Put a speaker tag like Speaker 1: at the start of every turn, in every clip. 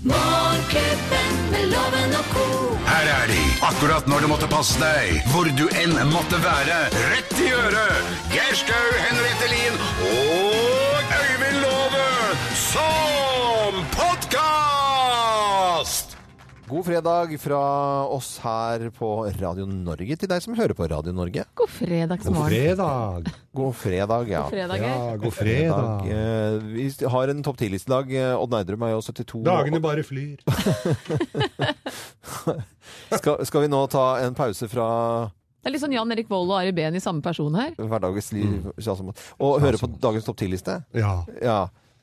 Speaker 1: Morgenklubben med loven og ko.
Speaker 2: Her er de, akkurat når du måtte passe deg, hvor du enn måtte være. Rett i øret! Geir Skau, Henriette Lien og Øyvind Låve som podkast!
Speaker 3: God fredag fra oss her på Radio Norge til deg som hører på Radio Norge.
Speaker 4: God fredagsmorgen.
Speaker 5: Fredag.
Speaker 3: God fredag, ja.
Speaker 4: Fredag, ja.
Speaker 5: Ja, god
Speaker 3: Dag.
Speaker 5: fredag.
Speaker 3: Eh, Vi har en topp 10-liste i dag. Eh, Odd Nerdrum er jo 72.
Speaker 5: Dagene bare flyr.
Speaker 3: Skal, skal vi nå ta en pause fra
Speaker 4: Det er litt sånn Jan Erik Vold og Ari Behn i samme person her.
Speaker 3: hverdagens liv sånn som- og høre på dagens topp 10-liste?
Speaker 5: Ja.
Speaker 3: Ja.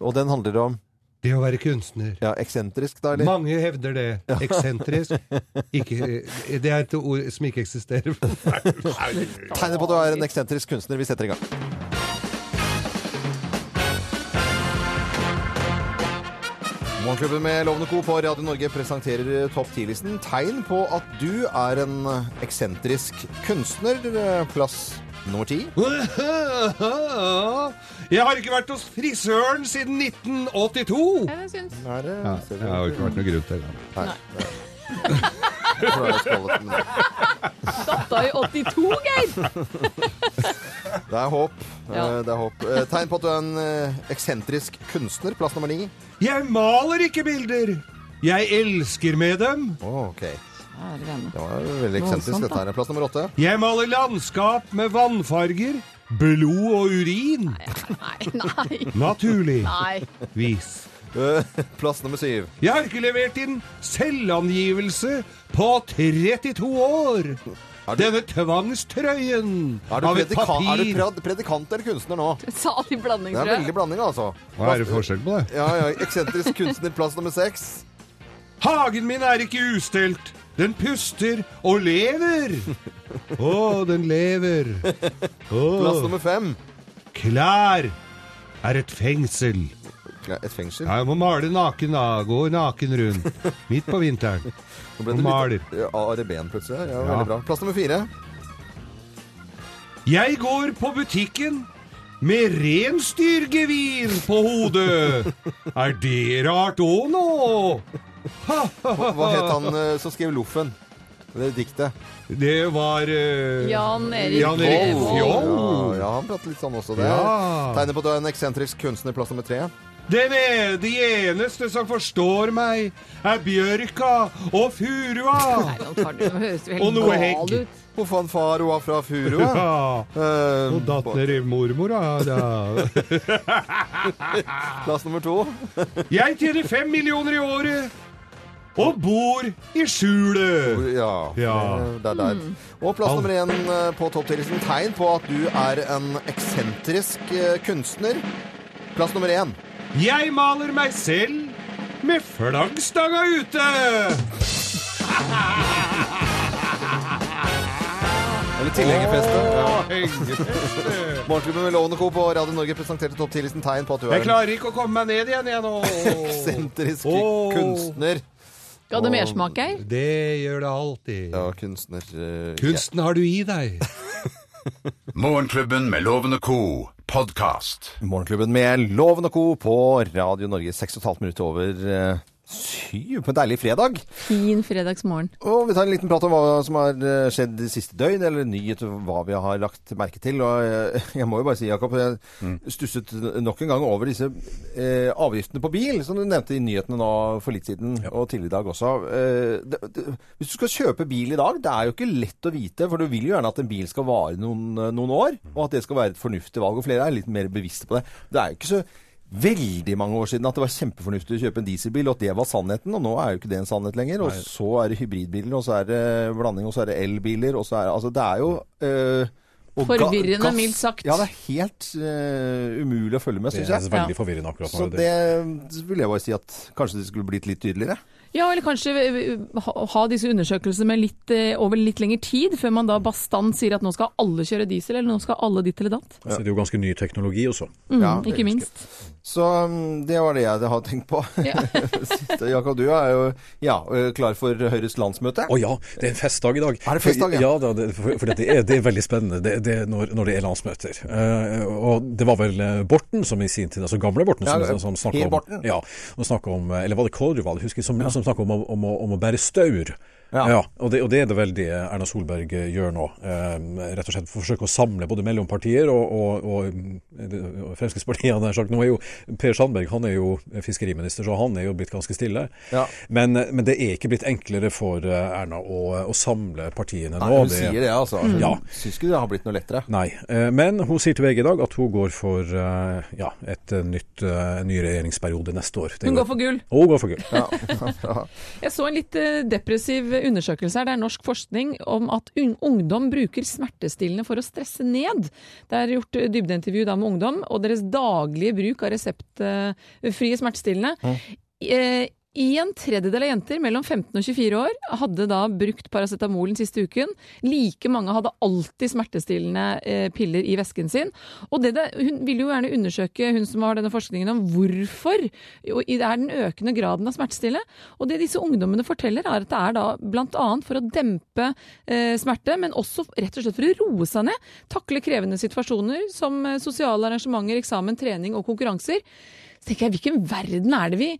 Speaker 3: Og den handler om
Speaker 5: Det å være kunstner.
Speaker 3: ja, eksentrisk, da, eller?
Speaker 5: Mange hevder det. Eksentrisk. Ikke, eh, det er et ord som ikke eksisterer.
Speaker 3: Tegner på at du er en eksentrisk kunstner. Vi setter i gang. Morgenklubben med Lovende Co. på Radio Norge presenterer Topp 10-listen. Tegn på at du er en eksentrisk kunstner. Plass nummer ti.
Speaker 5: Jeg har ikke vært hos frisøren siden 1982!
Speaker 4: Jeg syns
Speaker 3: Her, eh, ser vi.
Speaker 5: Det har jo ikke vært noe grunn til det.
Speaker 3: Jeg tror jeg skal holde til det.
Speaker 4: datta i 82, Geir!
Speaker 3: Det er håp.
Speaker 4: Ja.
Speaker 3: Eh, Det er håp. Eh, Tegn på at du er en eh, eksentrisk kunstner. Plass nummer ni.
Speaker 5: Jeg maler ikke bilder! Jeg elsker med dem!
Speaker 3: Å, ok.
Speaker 4: Kjære vene.
Speaker 3: Det var jo veldig eksentrisk,
Speaker 4: Voldsomt,
Speaker 3: dette her. Plass nummer åtte.
Speaker 5: Jeg maler landskap med vannfarger, blod og urin.
Speaker 4: Nei, nei,
Speaker 5: Naturlig.
Speaker 4: nei.
Speaker 5: Vis.
Speaker 3: Eh, Plass nummer syv.
Speaker 5: Jeg har ikke levert inn selvangivelse på 32 år!
Speaker 3: du-
Speaker 5: Denne tvangstrøyen
Speaker 3: Er du,
Speaker 5: av et
Speaker 3: predika er du
Speaker 5: papir
Speaker 3: pred- predikant eller kunstner nå?
Speaker 4: Sa de blanding,
Speaker 3: Det er
Speaker 4: tror jeg.
Speaker 3: veldig blanding, altså.
Speaker 5: Hva er det forskjell på det?
Speaker 3: Ja, ja, Eksentrisk kunstner, plass nummer seks.
Speaker 5: Hagen min er ikke ustelt! Den puster og lever! Å, den lever.
Speaker 3: Plass
Speaker 5: Å,
Speaker 3: nummer fem.
Speaker 5: klær er et fengsel.
Speaker 3: Ja, et fengsel.
Speaker 5: Jeg må male naken, da. Gå naken rundt. Midt på vinteren.
Speaker 3: Nå
Speaker 5: Og maler.
Speaker 3: Ja, ARB-en plutselig. her. Ja,
Speaker 5: Ja.
Speaker 3: Veldig bra. Plass nummer fire.
Speaker 5: Jeg går på butikken med reinsdyrgevir på hodet. Er det rart òg nå?
Speaker 3: Hva het han eh, som skrev Loffen? Det er diktet.
Speaker 5: Det var eh,
Speaker 4: Jan Erik
Speaker 5: Jan Erik
Speaker 4: Vold.
Speaker 3: Ja,
Speaker 5: Fjoll.
Speaker 3: ja, han prater litt sånn også. Det
Speaker 5: Ja.
Speaker 3: tegner på at du er en eksentrisk kunstner, plass nummer tre.
Speaker 5: Den e- de eneste som forstår meg, er bjørka og furua.
Speaker 4: Nei, nå tar du- nå høres du
Speaker 5: Og
Speaker 4: helt
Speaker 5: noe
Speaker 4: gal
Speaker 5: hegg.
Speaker 4: ut.
Speaker 3: Hvor faen Faroa fra Furua?
Speaker 5: Ja.
Speaker 3: Eh,
Speaker 5: Og datter i mormora. Ja.
Speaker 3: plass nummer to.
Speaker 5: Jeg tjener fem millioner i året og bor i skjulet.
Speaker 3: Ja.
Speaker 5: Ja.
Speaker 3: eh, Det er der. Og plass nummer én eh, på topptillitsen. Tegn på at du er en eksentrisk eh, kunstner. Plass nummer én.
Speaker 5: Jeg maler meg selv med flaggstanga ute!
Speaker 3: Eller tilhengerfeste. Ja.
Speaker 5: Hengefeste.
Speaker 3: Morgenklubben med Lovende Co. på Radio Norge presenterte topp 10-listen tegn på at du
Speaker 5: Jeg
Speaker 3: er en
Speaker 5: klarer ikke å komme meg ned igjen, jeg nå.
Speaker 3: eksentrisk
Speaker 5: Åh.
Speaker 3: kunstner.
Speaker 4: Ga det mersmak, Geir?
Speaker 5: Det gjør det alltid.
Speaker 3: Ja, kunstner eh,
Speaker 5: Kunsten har du i deg.
Speaker 2: Morgenklubben med Loven og Co. podkast.
Speaker 3: ja. Morgenklubben med Lovende Co. på Radio Norge. Seks og et halvt minutt over eh, syv på en deilig fredag.
Speaker 4: Fin fredagsmorgen.
Speaker 3: Og vi tar en liten prat om hva som har eh, skjedd de siste døgn, eller nyhet, hva vi har lagt merke til. Og eh, jeg må jo bare si, Jakob, jeg stusset nok en gang over disse eh, avgiftene på bil, som du nevnte i nyhetene nå for litt siden, og tidligere i dag også. Eh, det, det, hvis du skal kjøpe bil i dag, det er jo ikke lett å vite, for du vil jo gjerne at en bil skal vare noen, eh, noen år, og at det skal være et fornuftig valg. Og flere er litt mer bevisste på det. Det er jo ikke så veldig mange år siden at det var kjempefornuftig å kjøpe en dieselbil, og at det var sannheten. Og nå er jo ikke det en sannhet lenger. Og så er det hybridbiler, og så er det blanding, og så er det elbiler, og så er det Altså, det er jo øh, og ga-
Speaker 4: Forvirrende,
Speaker 3: gass-
Speaker 4: mildt sagt.
Speaker 3: Ja, det er helt øh, umulig å følge med, syns jeg.
Speaker 4: veldig
Speaker 6: forvirrende akkurat
Speaker 3: Så det ville jeg bare si at kanskje det skulle blitt litt tydeligere.
Speaker 4: Ja, eller kanskje eh, ha, ha disse undersøkelsene med litt, eh, over litt lengre tid, før man da bastant sier at nå skal alle kjøre diesel, eller nå skal alle ditt eller datt.
Speaker 6: Så det er jo ganske ny teknologi også.
Speaker 4: Mm,
Speaker 3: Ja, det er
Speaker 4: ikke minst.
Speaker 3: Så mm, det var det jeg har tenkt på.
Speaker 4: Ja.
Speaker 3: Siste- Jakob, du er jo ja, ø, klar for Høyres landsmøte.
Speaker 6: Å ja, det er en festdag i dag.
Speaker 3: Er det festdag, ja?
Speaker 6: ja? da, det, for, for det, er, det er veldig spennende det, det er når, når det er landsmøter. Eh, og det var vel eh, Borten som i sin tid, altså gamle Borten, som,
Speaker 3: Ja,
Speaker 6: som, som
Speaker 3: Per
Speaker 6: snakka om,
Speaker 3: Borten.
Speaker 6: ja, og snakket om eh, Eller var det Koldervall, husker jeg, som, som snakka om, å- om, å- om å bære staur.
Speaker 3: Ja.
Speaker 6: Ja. og, det, og det er det vel det Erna Solberg eh, gjør nå. Eh, rett og slett for å forsøke å samle både mellompartier og, og, og, mm, det- og Fremskrittspartiet. hadde jeg sagt. Nå er jo Per Sandberg han er jo fiskeriminister, så han er jo blitt ganske stille.
Speaker 3: Ja.
Speaker 6: Men, eh, men det er ikke blitt enklere for eh, Erna å, å samle partiene
Speaker 3: Nei,
Speaker 6: nå.
Speaker 3: hun sier det, altså.
Speaker 4: Mm.
Speaker 3: Hun
Speaker 6: Ja.
Speaker 3: syns ikke det har blitt noe lettere.
Speaker 6: Nei, eh, men hun sier til VG i dag at hun går for eh, ja, et eh, nytt, eh, ny regjeringsperiode neste år. Det
Speaker 4: Hun
Speaker 6: går-
Speaker 4: går for gull.
Speaker 6: Og hun går for gull.
Speaker 4: Jeg så en litt eh, depressiv undersøkelse her. Det er norsk forskning om at un ungdom bruker smertestillende for å stresse ned. Det er gjort eh, dybdeintervju da med ungdom, og deres daglige bruk av reseptfrie smertestillende. Eh, en tredjedel av jenter mellom 15 og 24 år hadde da brukt paracetamol den siste uken. Like mange hadde alltid smertestillende eh, piller i vesken sin. Og det det, hun vil jo gjerne undersøke, hun som har denne forskningen, om hvorfor jo, i- det er den økende graden av smertestillende. Og det disse ungdommene forteller, er at det er da bl.a. for å dempe eh, smerte, men også rett og slett for å roe seg ned. Takle krevende situasjoner som eh, sosiale arrangementer, eksamen, trening og konkurranser. Så tenker jeg, hvilken verden er det vi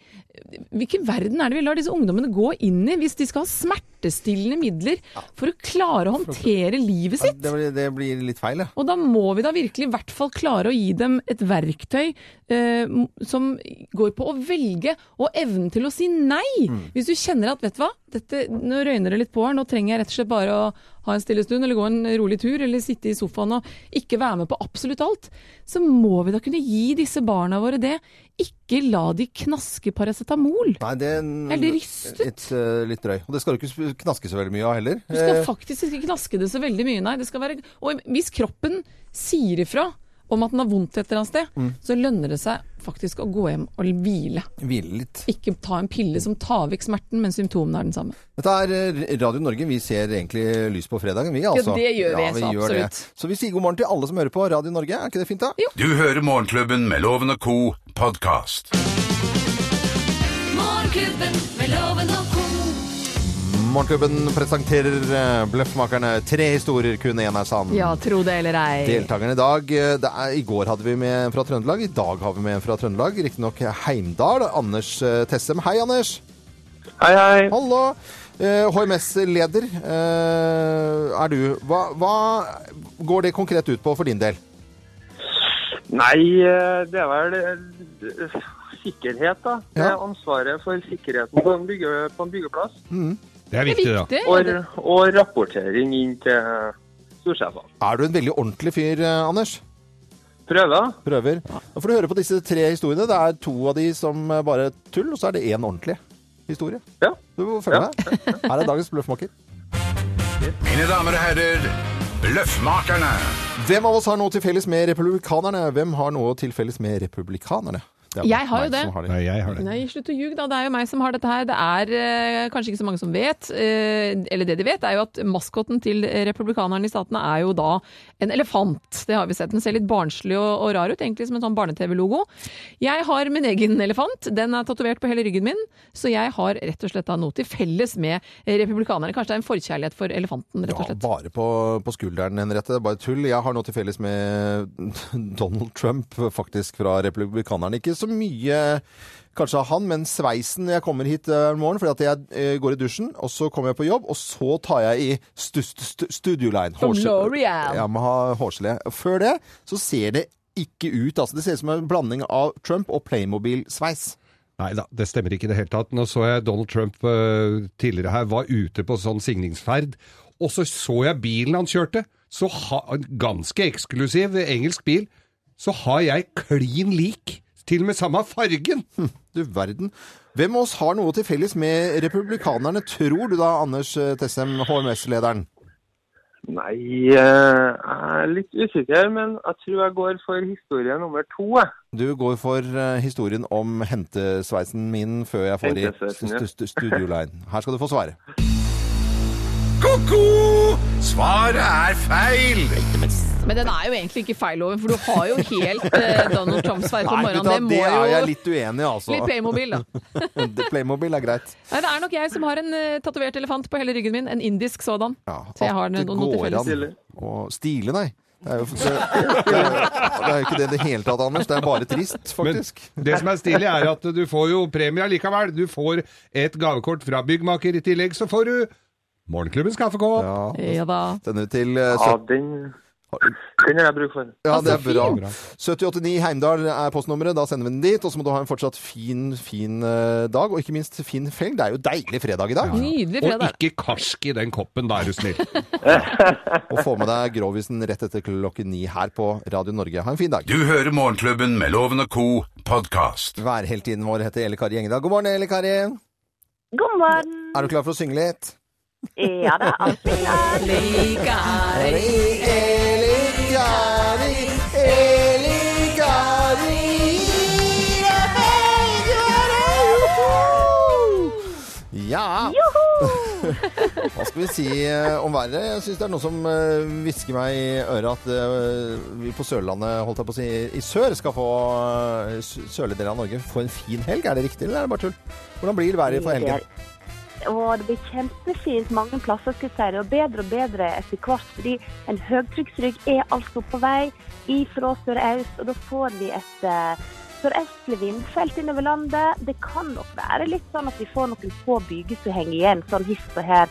Speaker 4: Hvilken verden er det vi lar disse ungdommene gå inn i hvis de skal ha smertestillende midler for å klare å håndtere livet sitt?
Speaker 3: Det, blir- det blir litt feil, ja.
Speaker 4: Og da må vi da virkelig i hvert fall klare å gi dem et verktøy eh, m- som går på å velge og evnen til å si nei. Hvis du kjenner at, vet du hva, dette, nå røyner det litt på her, nå trenger jeg rett og slett bare å ha en stille stund, eller gå en rolig tur, eller sitte i sofaen og ikke være med på absolutt alt, så må vi da kunne gi disse barna våre det. Ikke la de knaske paracetamol.
Speaker 3: Nei, det er en-
Speaker 4: Er det rystet?
Speaker 3: Litt, ø, litt drøy. Og det skal du ikke sp- knaske så veldig mye av heller.
Speaker 4: Du skal
Speaker 3: Eh,
Speaker 4: faktisk ikke knaske det så veldig mye, nei. Det skal være, og hvis kroppen sier ifra om at den har vondt et eller annet sted, så lønner det seg faktisk å gå hjem og hvile.
Speaker 3: Hvile litt.
Speaker 4: Ikke ta en pille som tar vekk smerten, men symptomene er den samme.
Speaker 3: Dette er eh, Radio Norge. Vi ser egentlig lys på fredagen, vi altså.
Speaker 4: det gjør vi, så absolutt.
Speaker 3: Det. Så vi sier god morgen til alle som hører på Radio Norge. Er ikke det fint, da?
Speaker 2: Du hører Morgenklubben med Loven og Co. podkast.
Speaker 1: Morgenklubben med Loven og co.
Speaker 3: Morgenklubben presenterer eh, Bløffmakerne. Tre historier, kun én er sann.
Speaker 4: Ja, tro det eller ei.
Speaker 3: Deltakerne i dag eh, det er, I går hadde vi med en fra Trøndelag, i dag har vi med en fra Trøndelag. Riktignok Heimdal. Anders eh, Tessem. Hei, Anders.
Speaker 7: Hei, hei.
Speaker 3: Hallo. Eh, HMS-leder eh, er du. Hva, hva går det konkret ut på for din del?
Speaker 7: Nei, eh, det er vel eh, sikkerhet, da. Det
Speaker 3: Ja.
Speaker 7: er ansvaret for sikkerheten på en, bygge, på en byggeplass.
Speaker 5: Det er
Speaker 4: Det er
Speaker 5: viktig, da.
Speaker 4: viktig. ja,
Speaker 7: Og,
Speaker 4: det-
Speaker 7: og rapportering inn til storsjefene.
Speaker 3: Er du en veldig ordentlig fyr, eh, Anders?
Speaker 7: Prøver.
Speaker 3: Prøver. Nå får du høre på disse tre historiene. Det er to av de som eh, bare er tull, og så er det én ordentlig historie.
Speaker 7: Ja.
Speaker 3: Du må følge
Speaker 7: Ja.
Speaker 3: med. Her er dagens bløffmaker.
Speaker 2: Mine damer og herrer, Bløffmakerne.
Speaker 3: Hvem av oss har noe til felles med republikanerne? Hvem har noe til felles med republikanerne? Det er
Speaker 4: Jeg har jo
Speaker 3: meg
Speaker 4: det.
Speaker 3: som
Speaker 5: Nei, jeg har det.
Speaker 4: Nei, slutt å ljuge, da. Det er jo meg som har dette her. Det er eh, kanskje ikke så mange som vet. Eh, eller det de vet, er jo at maskoten til republikanerne i statene er jo da en elefant. Det har vi sett. Den ser litt barnslig og, og rar ut, egentlig som en sånn barne-TV-logo. Jeg har min egen elefant. Den er tatovert på hele ryggen min. Så jeg har rett og slett da noe til felles med eh, republikanerne. Kanskje det er en forkjærlighet for elefanten, rett og
Speaker 3: Ja,
Speaker 4: slett.
Speaker 3: bare på, på skulderen, Henriette. Det er Bare tull. Jeg har noe til felles med Donald Trump, faktisk, fra republikanerne. Ikke så mye kanskje av han, men sveisen når jeg kommer hit eh, om morgenen. Fordi at jeg eh, går i dusjen, og så kommer jeg på jobb, og så tar jeg i stu, stu, studioline.
Speaker 4: Som
Speaker 3: Hårgel-
Speaker 4: L'Oreal.
Speaker 3: Jeg må ha hårgelé. Før det så ser det ikke ut. Altså, det ser ut som en blanding av Trump og Playmobil-sveis.
Speaker 5: Nei da, det stemmer ikke i det hele tatt. Nå så jeg Donald Trump eh, tidligere her, var ute på sånn signingsferd, og så så jeg bilen han kjørte. Så ha, en ganske eksklusiv engelsk bil. Så har jeg klin lik, til og med samme fargen!
Speaker 3: Du verden. Hvem av oss har noe til felles med republikanerne, tror du da, Anders eh, Tessem, HMS-lederen?
Speaker 7: Nei, eh, jeg er litt usikker, men jeg tror jeg går for historie nummer to. jeg.
Speaker 3: Du går for eh, historien om hentesveisen min før jeg får i
Speaker 7: Hentesveisen, ja.
Speaker 3: st- st- studioline. Her skal du få svare.
Speaker 2: Ko-ko! Svaret er feil!
Speaker 4: Men den er jo egentlig ikke feil, Loven, for du har jo helt eh, Donald Trump-sveis om
Speaker 3: Nei, vet du hva,
Speaker 4: morgenen.
Speaker 3: det
Speaker 4: Det må
Speaker 3: er jeg
Speaker 4: jo
Speaker 3: litt uenig i, altså.
Speaker 4: Litt Playmobil, da.
Speaker 3: Playmobil er greit.
Speaker 4: Nei, det er nok jeg som har en uh, tatovert elefant på hele ryggen min. En indisk sådan.
Speaker 3: Ja,
Speaker 4: Så jeg har
Speaker 3: at
Speaker 4: noe,
Speaker 3: det
Speaker 4: noe til
Speaker 3: går
Speaker 4: felles.
Speaker 7: Stille.
Speaker 3: an å stile, nei. Det er jo så, det er jo ikke det i det hele tatt, Anders. Det er bare trist,
Speaker 5: Men
Speaker 3: faktisk.
Speaker 5: det som er stilig, er at du får jo premie likevel. Du får et gavekort fra byggmaker. I tillegg så får du Morgenklubbens kaffekopp.
Speaker 4: Ja da.
Speaker 3: Denne til eh,
Speaker 7: Ja, den, den har jeg bruk for.
Speaker 3: Ja, det er
Speaker 4: så
Speaker 3: bra.
Speaker 4: fint.
Speaker 3: 7089 Heimdal er postnummeret. Da sender vi den dit. Og så må du ha en fortsatt fin, fin eh, dag. Og ikke minst fin felg. Det er jo deilig fredag i dag.
Speaker 4: Nydelig
Speaker 5: Og
Speaker 4: fredag.
Speaker 5: ikke karsk i den koppen, da er du snill.
Speaker 3: Og få med deg Grovisen rett etter klokken ni her på Radio Norge. Ha en fin dag.
Speaker 2: Du hører Morgenklubben med Loven og Co. podkast.
Speaker 3: Værheltinnen vår heter Eli Kari Engedal. God morgen, Eli Kari.
Speaker 8: God morgen.
Speaker 3: Er du klar for å synge litt?
Speaker 8: Ja da, alltid glad.
Speaker 4: Like er-
Speaker 3: Eli Kari, Eli Kari. Ja. Hva skal vi si eh, om været? Jeg syns det er noe som eh, hvisker meg i øret at eh, vi på Sørlandet, holdt jeg på å si, i sør skal få eh, s- sørlige deler av Norge få en fin helg. Er det riktig, eller er det bare tull? Hvordan blir været for helgen?
Speaker 8: Og det blir kjempefint mange plasser, skal jeg si det, og bedre og bedre etter hvert, fordi en høytrykksrygg er altså på vei ifra sørøst, og da får vi et eh, sørøstlig vindfelt innover landet. Det kan nok være litt sånn at vi får noen få byger som henger igjen, sånn hist og her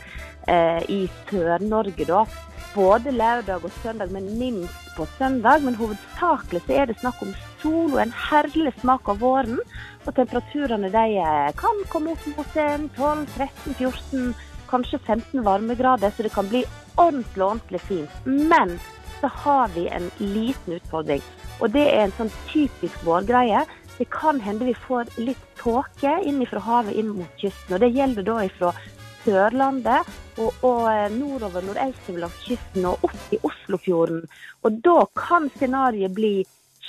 Speaker 8: eh, i Sør-Norge, da. Både lørdag og søndag, men minst på søndag. Men hovedsakelig så er det snakk om sol og en herlig smak av våren. Og temperaturene de eh, kan komme opp mot eh, en 12-13-14, kanskje 15 varmegrader, så det kan bli ordentlig, ordentlig fint. Men så har vi en liten utfordring, og det er en sånn typisk vårgreie. Det kan hende vi får litt tåke inn fra havet inn mot kysten, og det gjelder da ifra Sørlandet og, og eh, nordover nordøstover langs kysten og opp i Oslofjorden. Og da kan scenarioet bli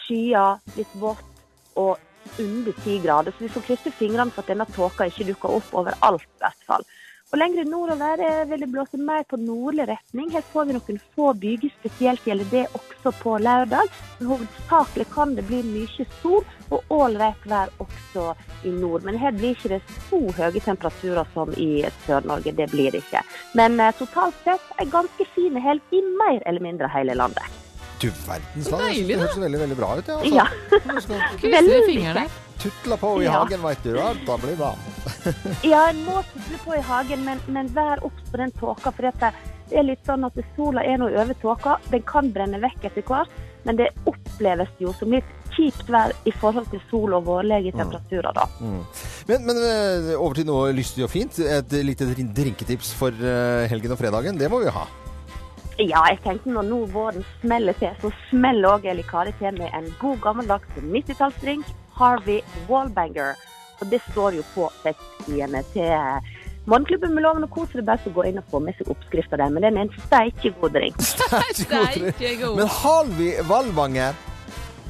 Speaker 8: skyer, litt vått og under 10 grader. Så vi får krysse fingrene for at denne tåka ikke dukker opp overalt, i hvert fall. Og Lenger nordover eh, vil det blåse mer på nordlig retning. Her får vi noen få byger, spesielt gjelder det også på lørdag. Men hovedsakelig kan det bli mye sol og ålreit vær også i nord. Men her blir ikke det så høye temperaturer som i Sør-Norge. Det blir det ikke. Men eh, totalt sett en ganske fin helg i mer eller mindre hele landet.
Speaker 3: Du verdens land.
Speaker 4: Deilig,
Speaker 3: Det hørtes veldig, veldig bra ut, ja.
Speaker 8: Ja.
Speaker 3: Altså.
Speaker 4: Krysser fingrene.
Speaker 3: Tutla på i
Speaker 8: Ja.
Speaker 3: hagen, veit du. Ja, da blir det bra.
Speaker 8: Ja, en må sykle på i hagen, men, men vær obs på den tåka. For dette, det er litt sånn at sola er nå over tåka. Den kan brenne vekk etter hvert, men det oppleves jo som litt kjipt vær i forhold til sol og vårlige temperaturer, da.
Speaker 3: Men, men eh, over til noe lystig og fint. Et lite drin- drinketips for eh, helgen og fredagen. Det må vi ha.
Speaker 8: Ja, jeg tenkte når nå våren smeller til, så smeller òg Eli Kari til med en god gammeldags 90-tallsdrink, Harvey Wallbanger. Og det står jo på festsidene til eh, Morgenklubben med loven og kos. så Det er best å gå inn og få med seg oppskrifta der, men den er en steike god drink.
Speaker 4: Steike god.
Speaker 3: Men Halvi Valvanger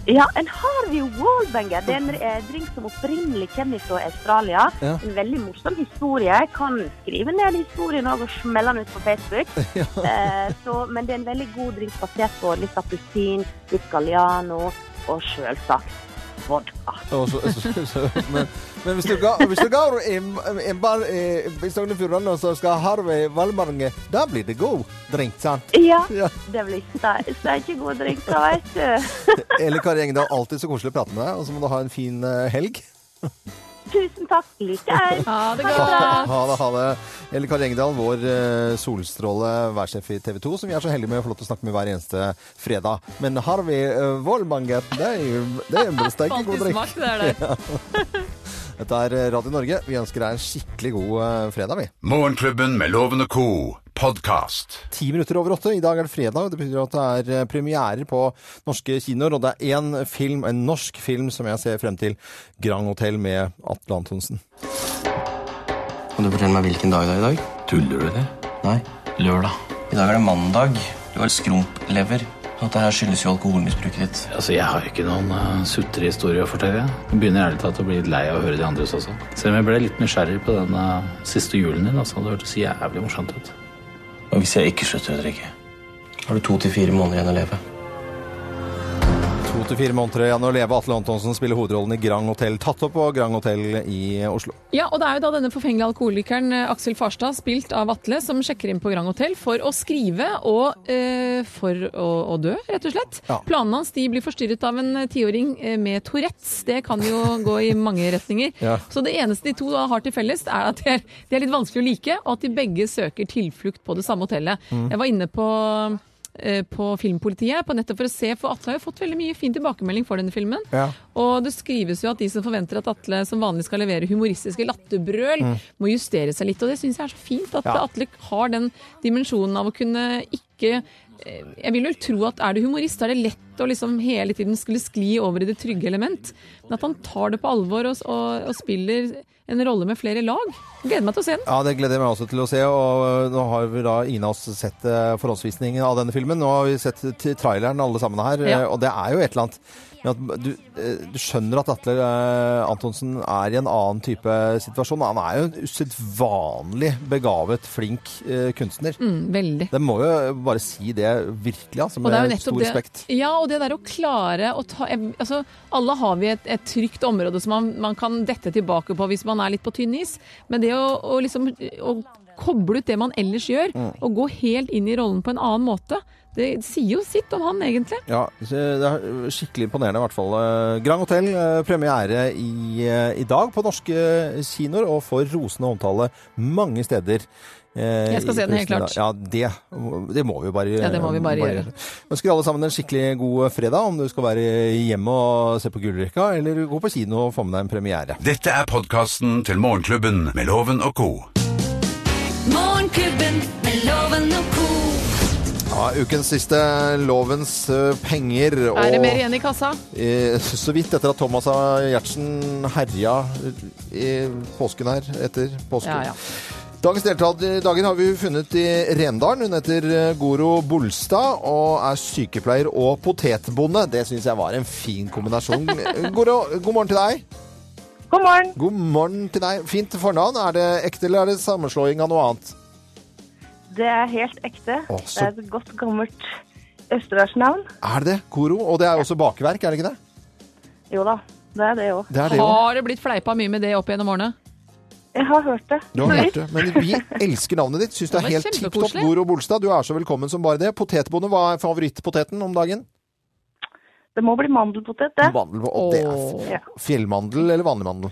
Speaker 8: Ja, en Harvey Wallbanger. Det er en eh, drink som opprinnelig kommer fra Australia.
Speaker 3: Ja.
Speaker 8: En veldig morsom historie. Jeg kan skrive ned historien også og smelle den ut på Facebook. Eh, så, men det er en veldig god drink basert på litt appelsin, litt galliano og selvsagt vodka.
Speaker 3: Og så- så- så- men, men hvis du ga- hvis du går i- i bar i eh, i Sogn og Fjordane, og så skal Harvi Valvanger, da blir det god drink, sant?
Speaker 8: Ja,
Speaker 3: Ja.
Speaker 8: det blir ste- steikegod drink, da, vet du.
Speaker 3: Eller Kari Engedal, alltid så koselig å prate med deg. Og så må du ha en fin eh, helg.
Speaker 8: Tusen takk. Likeens.
Speaker 4: Ha det godt.
Speaker 3: Ha det, ha det. Eller Kari Engedal, vår eh, solstråle værsjef i TV 2, som vi er så heldige med å få lov til å snakke med hver eneste fredag. Men Harvey uh, Wallbanger, det er jo det er en besteik god
Speaker 4: Alltid
Speaker 3: drikk.
Speaker 4: smak, det er det.
Speaker 3: Dette er eh, Radio Norge. Vi ønsker deg en skikkelig god eh, fredag, vi.
Speaker 2: Morgenklubben med Loven og Co. podkast.
Speaker 3: Ti minutter over åtte. I dag er det fredag, og det betyr at det er eh, premierer på norske kinoer. Og det er én film, en norsk film, som jeg ser frem til. Grand Hotel med Atle Antonsen.
Speaker 9: Kan du fortelle meg hvilken dag det er i dag? Tuller du, eller? Nei. Lørdag. I dag er det mandag. Du har skrumplever. At det her skyldes jo alkoholmisbruket ditt.
Speaker 10: Altså, Jeg har ikke noen uh, sutrehistorie å fortelle. Jeg begynner ærlig talt å bli litt lei av å høre de andres også. Selv om jeg ble litt nysgjerrig på den eh, siste julen din. altså, Det hørtes jævlig morsomt ut.
Speaker 9: Og hvis jeg ikke slutter å drikke, har du to til fire måneder igjen å leve.
Speaker 3: To til fire måneder igjen å leve. Atle Antonsen spiller hovedrollen i Grand Hotel, tatt opp på Grand Hotel i Oslo.
Speaker 4: Ja, og det er jo da denne forfengelige alkoholikeren eh, Aksel Farstad, spilt av Atle, som sjekker inn på Grand Hotel for å skrive og eh, for å, å dø, rett og slett.
Speaker 3: Ja.
Speaker 4: Planene hans de blir forstyrret av en eh, tiåring eh, med Tourettes. Det kan jo gå i mange retninger.
Speaker 3: Ja.
Speaker 4: Så det eneste de to da har til felles, er at de er, de er litt vanskelig å like, og at de begge søker tilflukt på det samme hotellet.
Speaker 3: Mm.
Speaker 4: Jeg var inne på eh, på Filmpolitiet, på nettet for å se, for Atle har jo fått veldig mye fin tilbakemelding for denne filmen.
Speaker 3: Ja.
Speaker 4: Og det skrives jo at de som forventer at Atle som vanlig skal levere humoristiske latterbrøl, må justere seg litt. Og det syns jeg er så fint, at
Speaker 3: Mm. Ja.
Speaker 4: Atle har den dimensjonen av å kunne ikke eh, jeg vil vel tro at er du humorist, så er det lett å liksom hele tiden skulle skli over i det trygge element. Men at han tar det på alvor og, og, og spiller en rolle med flere lag. Gleder meg til å se den.
Speaker 3: Ja, Det gleder jeg meg også til å se. og øh, Nå har vi da ingen av oss sett øh, forhåndsvisningen av denne filmen. Nå har vi sett t- traileren alle sammen her,
Speaker 4: Ja.
Speaker 3: øh, og det er jo et eller annet med at du, øh, du skjønner at Atle øh, Antonsen er i en annen type situasjon. Han er jo en usedvanlig begavet, flink øh, kunstner.
Speaker 4: Mm, veldig.
Speaker 3: Det må jo bare si det virkelig, altså,
Speaker 4: Og det er jo
Speaker 3: med
Speaker 4: nettopp
Speaker 3: stor
Speaker 4: det,
Speaker 3: respekt.
Speaker 4: Ja, og det der å klare å ta jeg, altså, Alle har vi et, et trygt område som man, man kan dette tilbake på hvis man er litt på tynn is, men det å, å liksom å koble ut det man ellers gjør,
Speaker 3: Mm.
Speaker 4: og gå helt inn i rollen på en annen måte, det sier jo sitt om han, egentlig.
Speaker 3: Ja, så det er skikkelig imponerende i hvert fall. Eh, Grand Hotel, eh, premiere i, eh, i dag på norske eh, kinoer, og får rosende omtale mange steder. eh,
Speaker 4: Jeg skal se den, helt klart.
Speaker 3: Ja, det, det må vi jo bare,
Speaker 4: Ja, det må vi bare gjøre.
Speaker 3: Ønsker alle sammen en skikkelig god eh, fredag, om du skal være hjemme og se på Gullrekka, eller gå på kino og få med deg en premiere.
Speaker 2: Dette er podkasten til Morgenklubben med Loven og co.
Speaker 1: Morgenklubben med loven og ko.
Speaker 3: Ja, ukens siste Lovens eh, penger.
Speaker 4: Er det
Speaker 3: og-
Speaker 4: mer igjen i kassa?
Speaker 3: Eh, så vidt etter at Thomas A. Gjertsen herja i påsken her, etter påsken.
Speaker 4: Ja, ja.
Speaker 3: Dagens deltaker har vi funnet i Rendalen. Hun heter eh, Goro Bolstad og er sykepleier og potetbonde. Det syns jeg var en fin kombinasjon. Goro, god morgen til deg.
Speaker 8: God morgen.
Speaker 3: God morgen til deg. Fint fornavn. Er det ekte, eller er det sammenslåing av noe annet?
Speaker 8: Det er helt ekte.
Speaker 3: Å,
Speaker 8: Det
Speaker 3: så-
Speaker 8: er et godt, gammelt østerdalsnavn.
Speaker 3: Er det Goro? Og det er også bakverk, er det ikke det?
Speaker 8: Jo da, det er det òg.
Speaker 3: Det er det jo.
Speaker 4: Har det blitt fleipa mye med det opp gjennom årene?
Speaker 8: Jeg har hørt det.
Speaker 3: Du har hørt det, men vi elsker navnet ditt. Syns det er
Speaker 4: Det var
Speaker 3: helt tipp topp.
Speaker 4: kjempekoselig.
Speaker 3: Goro Bolstad, du er så velkommen som bare det. Potetbonde, hva er favorittpoteten om dagen?
Speaker 8: Det må bli mandelpotet, det.
Speaker 3: Mandel, og det er
Speaker 4: Åh.
Speaker 8: Ja.
Speaker 3: fjellmandel eller vanlig mandel?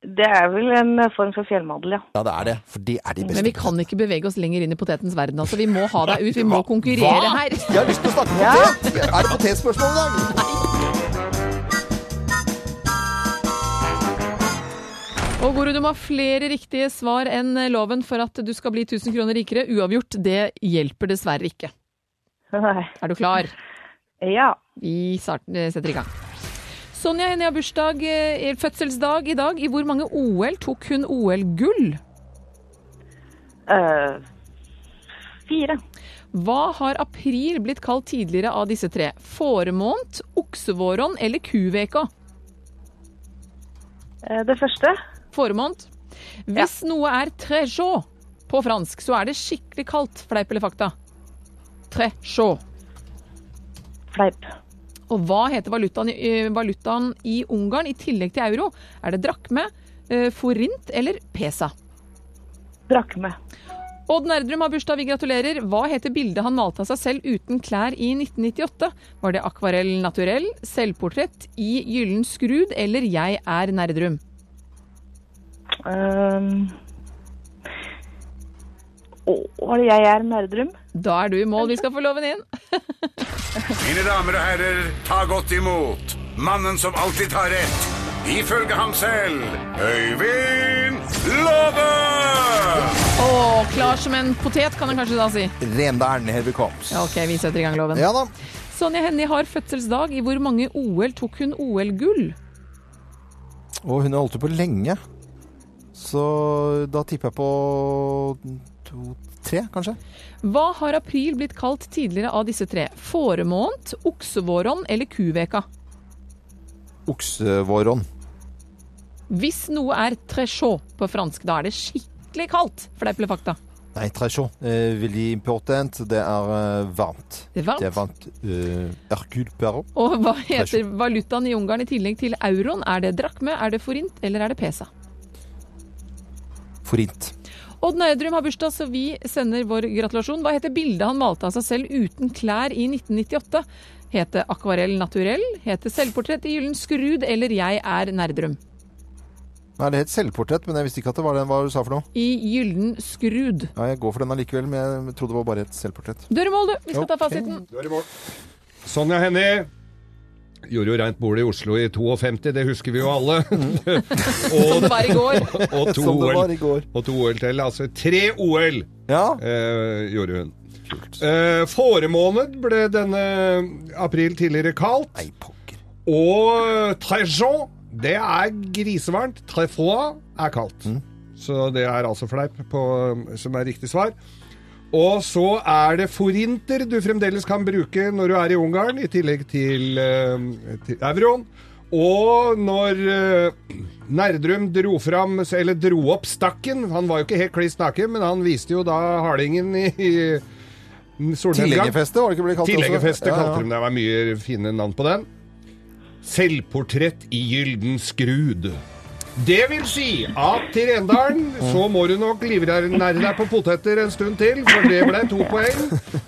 Speaker 8: Det er vel en eh, form for fjellmandel, ja.
Speaker 3: Ja, det er det. For det er de beste.
Speaker 4: Men vi kan ikke bevege oss lenger inn i potetens verden. Altså. Vi må ha deg ut, vi må konkurrere her.
Speaker 3: Jeg har lyst til å snakke om potet! Er det potetspørsmål i dag?
Speaker 4: Og Goro, du må ha flere riktige svar enn loven for at du skal bli 1000 kroner rikere. Uavgjort, det hjelper dessverre ikke.
Speaker 8: Nei.
Speaker 4: Er du klar?
Speaker 8: Ja.
Speaker 4: Vi starter- eh, setter i gang. Sonja Henie har bursdag, eh, er fødselsdag i dag. I hvor mange OL tok hun OL-gull?
Speaker 8: eh, fire.
Speaker 4: Hva har april blitt kalt tidligere av disse tre? Fåremåned, oksevåron eller kuveka?
Speaker 8: Eh, det første.
Speaker 4: Fåremåned. Hvis noe er très chaud på fransk, så er det skikkelig kaldt. Fleip eller fakta? Très chaud.
Speaker 8: Fleip.
Speaker 4: Og hva heter valutaen, i- eh, valutaen i Ungarn i tillegg til euro? Er det drakme, eh, forint eller pesa?
Speaker 8: Drakme.
Speaker 4: Odd Nerdrum har bursdag, vi gratulerer. Hva heter bildet han malte av seg selv uten klær i 1998? Var det akvarell naturell, selvportrett, i gyllen skrud eller jeg er Nerdrum?
Speaker 8: Um, å, var det jeg er Nerdrum?
Speaker 4: Da er du i mål, vi skal få loven inn.
Speaker 2: Mine damer og herrer, ta godt imot mannen som alltid tar rett. Ifølge ham selv Øyvind Låve!
Speaker 4: Å, klar som en potet, kan han kanskje da si.
Speaker 3: Rendalen, here we comes.
Speaker 4: Ja, ok, vi setter i gang loven.
Speaker 3: Ja da.
Speaker 4: Sonja Hennie har fødselsdag. I hvor mange OL tok hun OL-gull?
Speaker 3: Og hun har holdt det på lenge. Så da tipper jeg på to, tre, kanskje.
Speaker 4: Hva har april blitt kalt tidligere av disse tre? Fåremåned, oksevåron eller kuveka?
Speaker 3: Oksevåron.
Speaker 4: Hvis noe er très chaud på fransk, da er det skikkelig kaldt. Fleiple fakta.
Speaker 3: Nei, tresjon. Eh, veldig important. Det er eh, varmt.
Speaker 4: Det er varmt.
Speaker 3: eh, Hercule Perrot.
Speaker 4: Og hva heter valutaen i Ungarn i tillegg til euroen? Er det drakme, er det forint eller er det pesa?
Speaker 3: Forint.
Speaker 4: Odd Nerdrum har bursdag, så vi sender vår gratulasjon. Hva heter bildet han malte av seg selv uten klær i 1998? Het det akvarell naturell? Het det selvportrett i gyllen skrud? Eller jeg er Nerdrum?
Speaker 3: Nei, det het selvportrett, men jeg visste ikke at det var den. Hva du sa for noe?
Speaker 4: I gyllen skrud.
Speaker 3: Ja, jeg går for den allikevel, men jeg trodde det var bare et selvportrett.
Speaker 4: Du er i mål, du. Vi skal ta
Speaker 3: Ok.
Speaker 4: fasiten.
Speaker 5: Sonja Hennie gjorde jo rent bord i Oslo i 52, det husker vi jo alle.
Speaker 4: Som det var i går.
Speaker 5: Og to
Speaker 3: Som det var
Speaker 5: OL,
Speaker 3: i går.
Speaker 5: og to OL til. Altså tre OL
Speaker 3: Ja.
Speaker 5: eh, gjorde hun. Eh, Fåremåned ble denne april tidligere kalt.
Speaker 3: Nei, pokker.
Speaker 5: Og Trejon, det er grisevarmt. Trefroa er kaldt. Så det er altså fleip på, som er riktig svar. Og så er det forinter du fremdeles kan bruke når du er i Ungarn, i tillegg til, eh, til euroen. Og når eh, Nerdrum dro fram, eller dro opp stakken Han var jo ikke helt kliss naken, men han viste jo da hardingen i, i solnedgang.
Speaker 3: Tilhengerfeste var det ikke blitt kalt
Speaker 5: Tilhengerfestet
Speaker 3: også?
Speaker 5: kalte de det. Det var mye fine navn på den. Selvportrett i gylden skrud. Det vil si at til Rendalen så må du nok livnære deg på poteter en stund til, for det ble to poeng.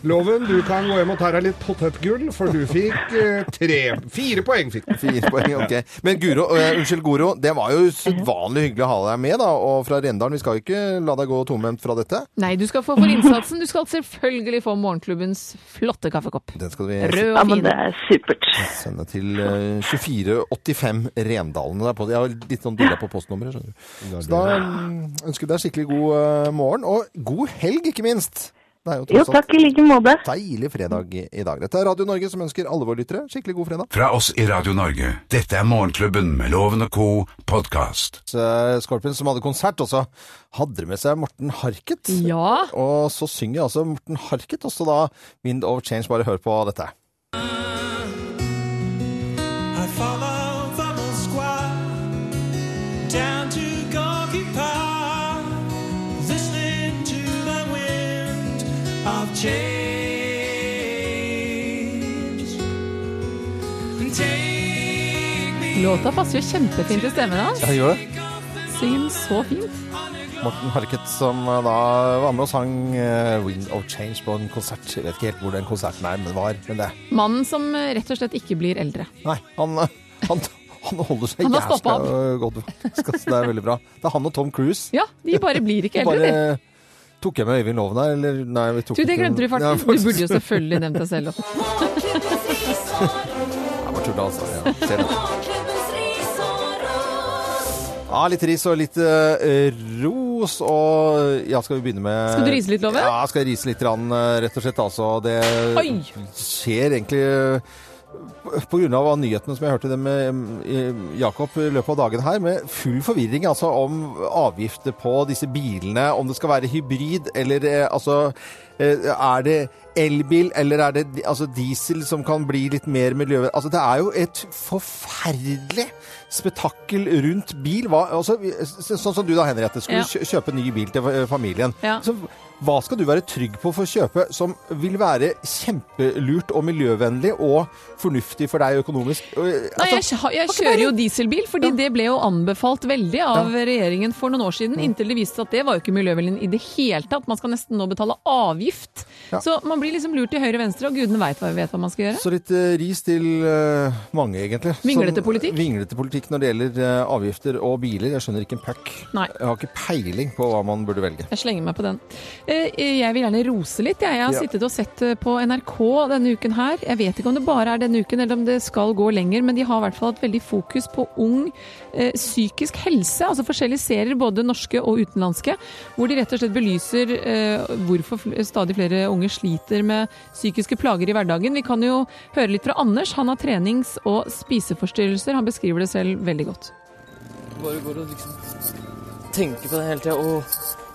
Speaker 5: Loven, du kan gå hjem og ta deg litt potetgull, for du fikk eh, tre Fire poeng fikk du.
Speaker 3: Fire poeng, ok. Men Guro, eh, unnskyld Goro, det var jo sedvanlig hyggelig å ha deg med, da. Og fra Rendalen, vi skal jo ikke la deg gå tomhendt fra dette.
Speaker 4: Nei, du skal få for innsatsen. Du skal selvfølgelig få morgenklubbens flotte kaffekopp.
Speaker 3: Den skal vi
Speaker 4: Rød
Speaker 8: Ja,
Speaker 4: og
Speaker 8: men
Speaker 4: fin.
Speaker 8: det er supert.
Speaker 3: sende til eh, 2485 Rendalen. Det er på, jeg har litt sånn dilla på postnummeret, skjønner du. Så da mm, ønsker vi deg skikkelig god eh, morgen, og god helg, ikke minst. Det er jo
Speaker 8: Jo,
Speaker 3: tross alt
Speaker 8: takk i like måte.
Speaker 3: deilig fredag i i dag. Dette er Radio Norge som ønsker alle våre lyttere skikkelig god fredag.
Speaker 2: Fra oss i Radio Norge. Dette er Morgenklubben med Loven og co. podkast.
Speaker 3: Så, eh, Scorpions som hadde konsert også, hadde med seg Morten Harket.
Speaker 4: Ja.
Speaker 3: Og så synger altså Morten Harket også da Wind of Change. Bare hør på dette.
Speaker 11: I follow from the square down to Gorky Park, listening to the wind of change. Take me
Speaker 4: Låta passer jo kjempefint til stemmen hans.
Speaker 3: Ja, gjør det.
Speaker 4: Synger den så fint.
Speaker 3: Morten Harket som eh, da var med og sang eh, Wind of Change på en konsert. Jeg vet ikke helt hvor den konserten er, men det var men det.
Speaker 4: Mannen som eh, rett og slett ikke blir eldre.
Speaker 3: Nei, han, eh, han, han holder seg
Speaker 4: Han har stoppet
Speaker 3: jævla godt, faktisk. ass. Det er veldig bra. Det er han og Tom Cruise.
Speaker 4: Ja, de bare blir ikke eldre, de.
Speaker 3: Bare tok jeg med Øyvind Loven her, eller Nei, vi tok
Speaker 4: Du, det glemte du i
Speaker 3: Ja,
Speaker 4: farten. Du
Speaker 3: faktisk.
Speaker 4: burde jo selvfølgelig nevnt deg selv også.
Speaker 1: Morgenklubbens risår,
Speaker 3: Jeg bare tulla, altså. Ja, ser det.
Speaker 1: morgenklubbens risår
Speaker 3: Ja, litt ris og litt eh, ros, og ja, skal vi begynne med
Speaker 4: Skal du rise litt, Loven?
Speaker 3: Ja, skal jeg rise litt, rann, eh, rett og slett. Altså, det
Speaker 4: Oi!
Speaker 3: skjer egentlig eh, på grunn av nyhetene som jeg hørte det med eh, Jakob i løpet av dagen her, med full forvirring altså om avgifter på disse bilene, om det skal være hybrid eller eh, altså eh, Er det elbil eller er det di- altså, diesel som kan bli litt mer miljø... Altså det er jo et forferdelig spetakkel rundt bil. Hva, altså, så- sånn som du da, Henriette, skulle
Speaker 4: Ja.
Speaker 3: kjø- kjøpe ny bil til eh, familien.
Speaker 4: Ja.
Speaker 3: Så hva skal du være trygg på for å kjøpe som vil være kjempelurt og miljøvennlig og fornuftig for deg økonomisk? Eh,
Speaker 4: Nei,
Speaker 3: altså,
Speaker 4: jeg, kj- jeg kjører jo dieselbil, fordi det ble jo anbefalt veldig av regjeringen for noen år siden, inntil det viste seg at det var jo ikke miljøvennlig i det hele tatt. Man skal nesten nå betale avgift. Så man blir liksom lurt til høyre og venstre, og gudene veit hva, vet hva man skal gjøre.
Speaker 3: Så litt eh, ris til eh, mange, egentlig.
Speaker 4: Vinglete
Speaker 3: Som-
Speaker 4: politikk?
Speaker 3: Vinglete politikk når det gjelder eh, avgifter og biler. Jeg skjønner ikke en puck.
Speaker 4: Nei.
Speaker 3: Jeg har ikke peiling på hva man burde velge.
Speaker 4: Jeg slenger meg på den. Eh, Jeg vil gjerne rose litt. Jeg, jeg har
Speaker 3: Ja.
Speaker 4: sittet og sett eh, på NRK denne uken her. Jeg vet ikke om det bare er denne uken, eller om det skal gå lenger, men de har i hvert fall hatt veldig fokus på ung eh, psykisk helse. Altså forskjellige serier, både norske og utenlandske, hvor de rett og slett belyser eh, hvorfor fl- stadig flere unge sliter med psykiske plager i hverdagen. Vi kan jo høre litt fra Anders. Han har trenings- og spiseforstyrrelser. Han beskriver det selv veldig godt.
Speaker 10: Bare går og liksom
Speaker 12: tenker på det hele tida. Å,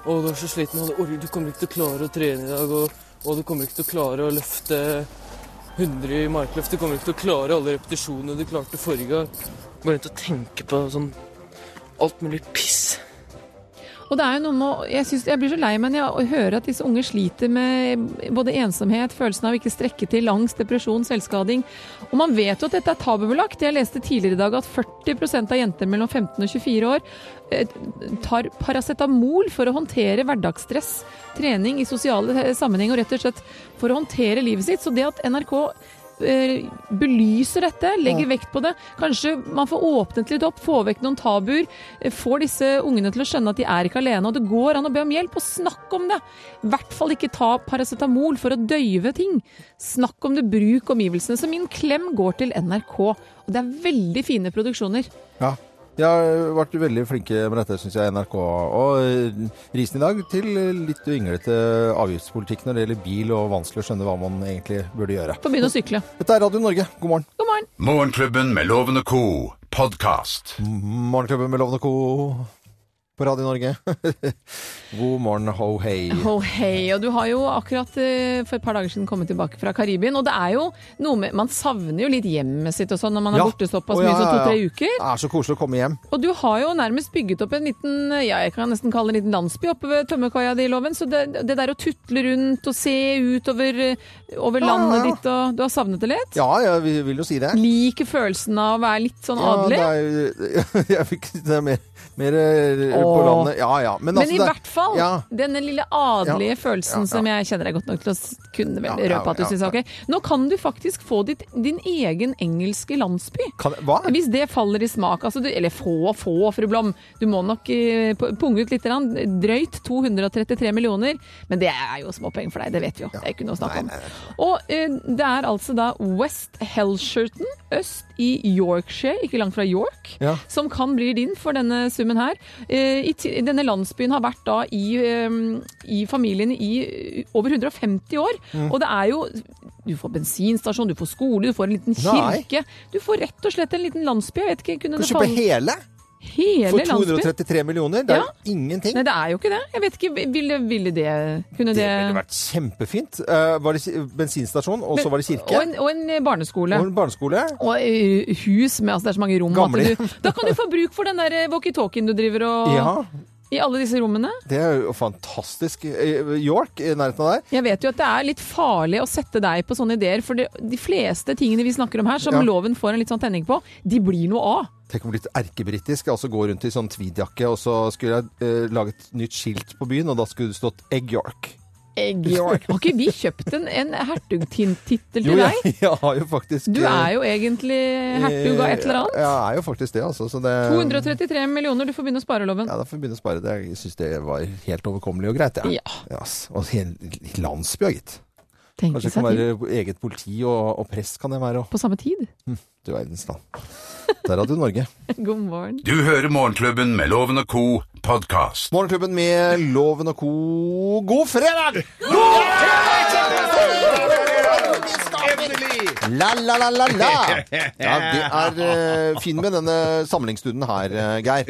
Speaker 12: å, du er så sliten, og du, orker- du kommer ikke til å klare å trene i dag. Og, og du kommer ikke til å klare å løfte 100 i markløft. Du kommer ikke til å klare alle repetisjonene du klarte forrige gang. Bare til å tenke på sånn alt mulig piss.
Speaker 4: Og det er jo noe med, å- jeg, synes, jeg blir så lei meg når jeg hører at disse unge sliter med både ensomhet, følelsen av ikke strekke til, angst, depresjon, selvskading. Og man vet jo at dette er tabubelagt. Jeg leste tidligere i dag at 40 av jenter mellom 15 og 24 år eh, tar paracetamol for å håndtere hverdagsstress, trening i sosiale eh, sammenhenger og rett og slett for å håndtere livet sitt. Så det at NRK eh, belyser dette, legger vekt på det. Kanskje man får åpnet litt opp, får vekk noen tabuer. eh, Får disse ungene til å skjønne at de er ikke alene. Og det går an å be om hjelp, og snakk om det! I hvert fall ikke ta paracetamol for å døyve ting. Snakk om det, bruk omgivelsene. Så min klem går til NRK. Og det er veldig fine produksjoner.
Speaker 3: Ja. De har vært veldig flinke med dette, syns jeg, NRK. Og eh, risen i dag til litt vinglete avgiftspolitikk når det gjelder bil, og vanskelig å skjønne hva man egentlig burde gjøre.
Speaker 4: Få begynne å sykle.
Speaker 3: Dette er Radio Norge, god morgen.
Speaker 4: God morgen.
Speaker 2: Morgenklubben med Loven og Co. podkast.
Speaker 3: Morgenklubben med Lovende Co. på Radio Norge. god morgen, ho hei.
Speaker 4: Oh, hei, og Du har jo akkurat eh, for et par dager siden kommet tilbake fra Karibien. og det er jo noe med, Man savner jo litt hjemmet sitt og sånn når man er
Speaker 3: Ja.
Speaker 4: borte såpass
Speaker 3: Å,
Speaker 4: mye
Speaker 3: ja,
Speaker 4: som
Speaker 3: ja,
Speaker 4: to-tre
Speaker 3: ja.
Speaker 4: uker.
Speaker 3: Det er så koselig å komme hjem.
Speaker 4: Og du har jo nærmest bygget opp en liten ja, jeg kan nesten kalle det en liten landsby oppe ved tømmerkaia di, Loven. Så det, det der å tutle rundt og se utover over
Speaker 3: Ja,
Speaker 4: landet
Speaker 3: ja.
Speaker 4: ditt og Du har savnet det litt?
Speaker 3: Ja, jeg vil- vil jo si det.
Speaker 4: Liker følelsen av å være litt sånn
Speaker 3: Ja,
Speaker 4: adelig?
Speaker 3: det altså, er, jeg fikk det er mer, mer eh, på
Speaker 4: Åh.
Speaker 3: landet. Ja, ja.
Speaker 4: men
Speaker 3: altså,
Speaker 4: i
Speaker 3: det er-
Speaker 4: hvert fall,
Speaker 3: Ja.
Speaker 4: denne lille adelige
Speaker 3: Ja, ja, ja.
Speaker 4: følelsen som jeg kjenner deg godt nok til å s- kunne vel
Speaker 3: Ja, ja,
Speaker 4: røpe at du
Speaker 3: ja,
Speaker 4: syns er ok. Nå kan du faktisk få ditt, din egen engelske landsby.
Speaker 3: Kan, hva?
Speaker 4: Hvis det faller i smak, altså du, eller få og få, fru Blom. Du må nok eh, p- punge ut litt. grann. Drøyt 233 millioner. Men det er jo småpenger for deg, det vet vi jo. Det er ikke noe å snakke om. Og eh, det er altså da West Helsherton, øst i Yorkshire, ikke langt fra York,
Speaker 11: Ja.
Speaker 4: som kan bli din for denne summen her. Eh, i ti- Denne landsbyen har vært da i, eh, i familien i eh, over 150 år,
Speaker 11: Mm.
Speaker 4: og det er jo du får bensinstasjon, du får skole, du får en liten
Speaker 3: Nei.
Speaker 4: kirke. Du får rett og slett en liten landsby. Jeg vet ikke, kunne
Speaker 3: Kan
Speaker 4: det
Speaker 3: du kjøpe
Speaker 4: falle-
Speaker 3: hele?
Speaker 4: Hele
Speaker 3: For
Speaker 4: landsbyen?
Speaker 3: 233 millioner? Det er
Speaker 4: Ja.
Speaker 3: jo ingenting.
Speaker 4: Nei, det er jo ikke det. Jeg vet ikke, ville, ville det kunne det,
Speaker 3: Det hadde vært kjempefint. Eh, var det si- bensinstasjon, og så var det kirke.
Speaker 4: Og en, og en barneskole.
Speaker 3: Og en barneskole.
Speaker 4: Og eh, hus med altså det er så mange rom.
Speaker 3: Gamle.
Speaker 4: at Du, da kan du få bruk for den der eh, walkietalkien du driver og
Speaker 3: Ja.
Speaker 4: I alle disse rommene.
Speaker 3: Det er jo fantastisk. Eh, York, i nærheten av der.
Speaker 4: Jeg vet jo at det er litt farlig å sette deg på sånne ideer, for det, de fleste tingene vi snakker om her, som
Speaker 3: Ja.
Speaker 4: loven får en litt sånn tenning på, de blir noe av.
Speaker 3: Tenk om jeg blir litt erkebritisk. Altså gå rundt i sånn tweedjakke, og så skulle jeg eh, lage et nytt skilt på byen, og da skulle det stått Egg York.
Speaker 4: Egg York. Har ikke vi kjøpt en, en hertugtittel til
Speaker 3: Jo,
Speaker 4: deg?
Speaker 3: jeg, jeg har jo faktisk
Speaker 4: Du er jo egentlig hertug av et eller annet.
Speaker 3: Jeg, jeg er jo faktisk det, altså. Så det
Speaker 4: 233 millioner, du får begynne å spare loven.
Speaker 3: Ja, da får vi begynne å spare det. Jeg syns det var helt overkommelig og greit, jeg.
Speaker 4: Ja.
Speaker 3: ass. Og en hel landsby, ja, gitt.
Speaker 4: Tenk
Speaker 3: Kanskje det
Speaker 4: seg
Speaker 3: kan være eget politi og, og prest kan det være. Og,
Speaker 4: På samme tid.
Speaker 3: du verdens land. Der hadde du Norge.
Speaker 4: God morgen.
Speaker 2: Du hører Morgenklubben med Loven og Co. podkast.
Speaker 3: Morgenklubben med Loven og co. God fredag!
Speaker 11: Endelig!
Speaker 3: La, la, la, la, la! Ja, det er eh, fin med denne samlingsstunden her, eh, Geir.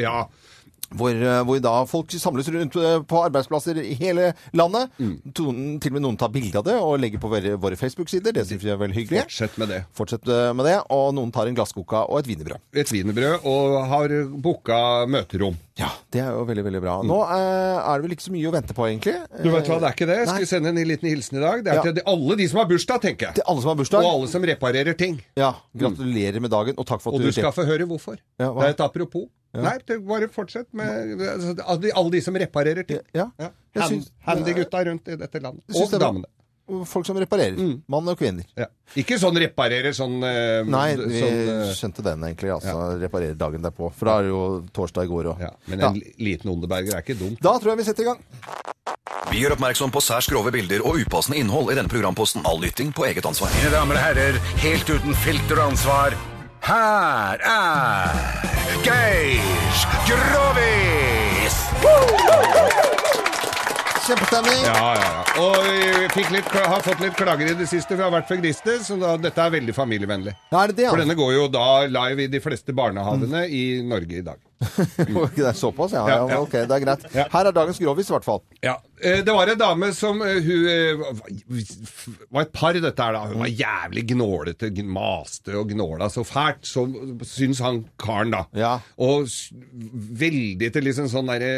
Speaker 3: Hvor, eh, hvor da folk samles rundt eh, på arbeidsplasser i hele landet. Tonen- til og med noen tar bilde av det og legger på våre, våre Facebook-sider. Det synes vi er veldig hyggelig.
Speaker 5: Fortsett med det.
Speaker 3: Fortsett eh, med det. Og noen tar en glasskoka og et wienerbrød.
Speaker 5: Et wienerbrød, og har booka møterom.
Speaker 3: Ja, det er jo veldig, veldig bra. Nå eh, er det vel ikke så mye å vente på, egentlig.
Speaker 5: Du vet hva, det er ikke det. Jeg
Speaker 3: Eh, Nei.
Speaker 5: skulle sende en liten hilsen i dag. Det er
Speaker 3: Ja.
Speaker 5: til de- alle de som har bursdag, tenker jeg.
Speaker 3: Til alle som har bursdag.
Speaker 5: Og alle som reparerer ting.
Speaker 3: Ja, gratulerer med dagen, og takk for at
Speaker 5: Og
Speaker 3: du
Speaker 5: du skal få høre hvorfor.
Speaker 3: Ja, hva?
Speaker 5: det er et apropos. Nei, det- bare fortsett med altså, alle de- alle de som reparerer ting.
Speaker 3: Ja. Jeg
Speaker 5: Hand-
Speaker 3: syns-
Speaker 5: Handy gutta rundt i dette landet.
Speaker 3: Jeg syns
Speaker 5: Og
Speaker 3: det er bra.
Speaker 5: damene.
Speaker 3: Folk som reparerer. Mm. Mann og kvinner.
Speaker 5: Ja. Ikke sånn reparerer sånn eh,
Speaker 3: Nei, vi
Speaker 5: sånn, eh,
Speaker 3: skjønte den egentlig. Altså, Reparere dagen derpå. For da er det jo torsdag i går òg.
Speaker 5: Men en li- liten Onderberger er ikke dum.
Speaker 3: Da tror jeg vi setter i gang.
Speaker 13: Vi gjør oppmerksom på særs grove bilder og upassende innhold i denne programposten. All lytting på eget ansvar.
Speaker 2: Mine damer og herrer, helt uten filter og ansvar, her er Geir Grovis!
Speaker 3: Kjempestemning!
Speaker 5: Ja, ja, ja. Og vi fikk litt, kla- har fått litt klager i det siste, for jeg har vært for griste, så da, dette er veldig familievennlig.
Speaker 3: Ja, er det det, ja?
Speaker 5: For denne går jo da live i de fleste barnehagene i Norge i dag.
Speaker 3: Ok, det er såpass, ja. ja,
Speaker 5: ja.
Speaker 3: Ok, det er greit. Her er dagens grovis, i hvert fall.
Speaker 5: Ja. Eh, Det var en dame som eh, Hun eh, var- var et par, dette her, da. Hun var jævlig gnålete, gn- maste og gnåla så fælt, så syns han karen, da. Og s- veldig til liksom sånn derre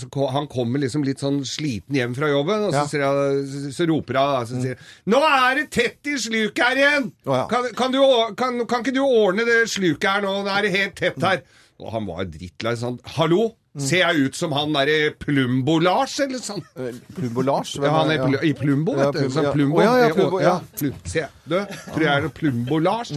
Speaker 5: så ko- Han kommer liksom litt sånn sliten hjem fra jobben, og så,
Speaker 14: Ja.
Speaker 5: sier han, så, så roper hun da, så sier hun, 'Nå er det tett i sluket her igjen! kan, kan, du, å- kan, kan ikke du ordne det sluket her nå? Nå er det helt tett her!' Og han var drittlei sånn 'Hallo, ser jeg ut som han derre Plumbo-Lars, eller sånn?'
Speaker 3: Plumbo-Lars? Eh, Hvem
Speaker 5: Ja, han
Speaker 3: er-
Speaker 5: er i Plu-
Speaker 3: ja.
Speaker 5: i Plumbo,
Speaker 3: Ja,
Speaker 5: vet du.
Speaker 3: Plumbo,
Speaker 5: Sånn
Speaker 3: ja.
Speaker 5: Plumbo.
Speaker 3: Å, ja, ja, Plumbo, ja. Mm.
Speaker 5: Plu- Se, du, tror jeg er Plumbo-Lars.